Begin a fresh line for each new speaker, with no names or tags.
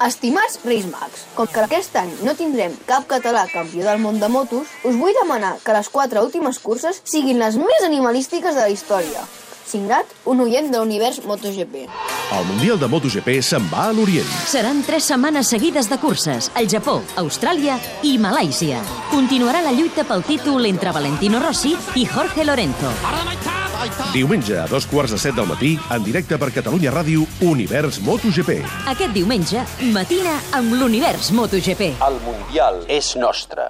Estimats Reis Mags, com que aquest any no tindrem cap català campió del món de motos, us vull demanar que les quatre últimes curses siguin les més animalístiques de la història. Signat, un oient de l'univers MotoGP.
El Mundial de MotoGP se'n va a l'Orient.
Seran tres setmanes seguides de curses al Japó, Austràlia i Malàisia. Continuarà la lluita pel títol entre Valentino Rossi i Jorge Lorenzo.
Diumenge a dos quarts de set del matí, en directe per Catalunya Ràdio, Univers MotoGP.
Aquest diumenge, matina amb l'univers MotoGP.
El Mundial és nostre.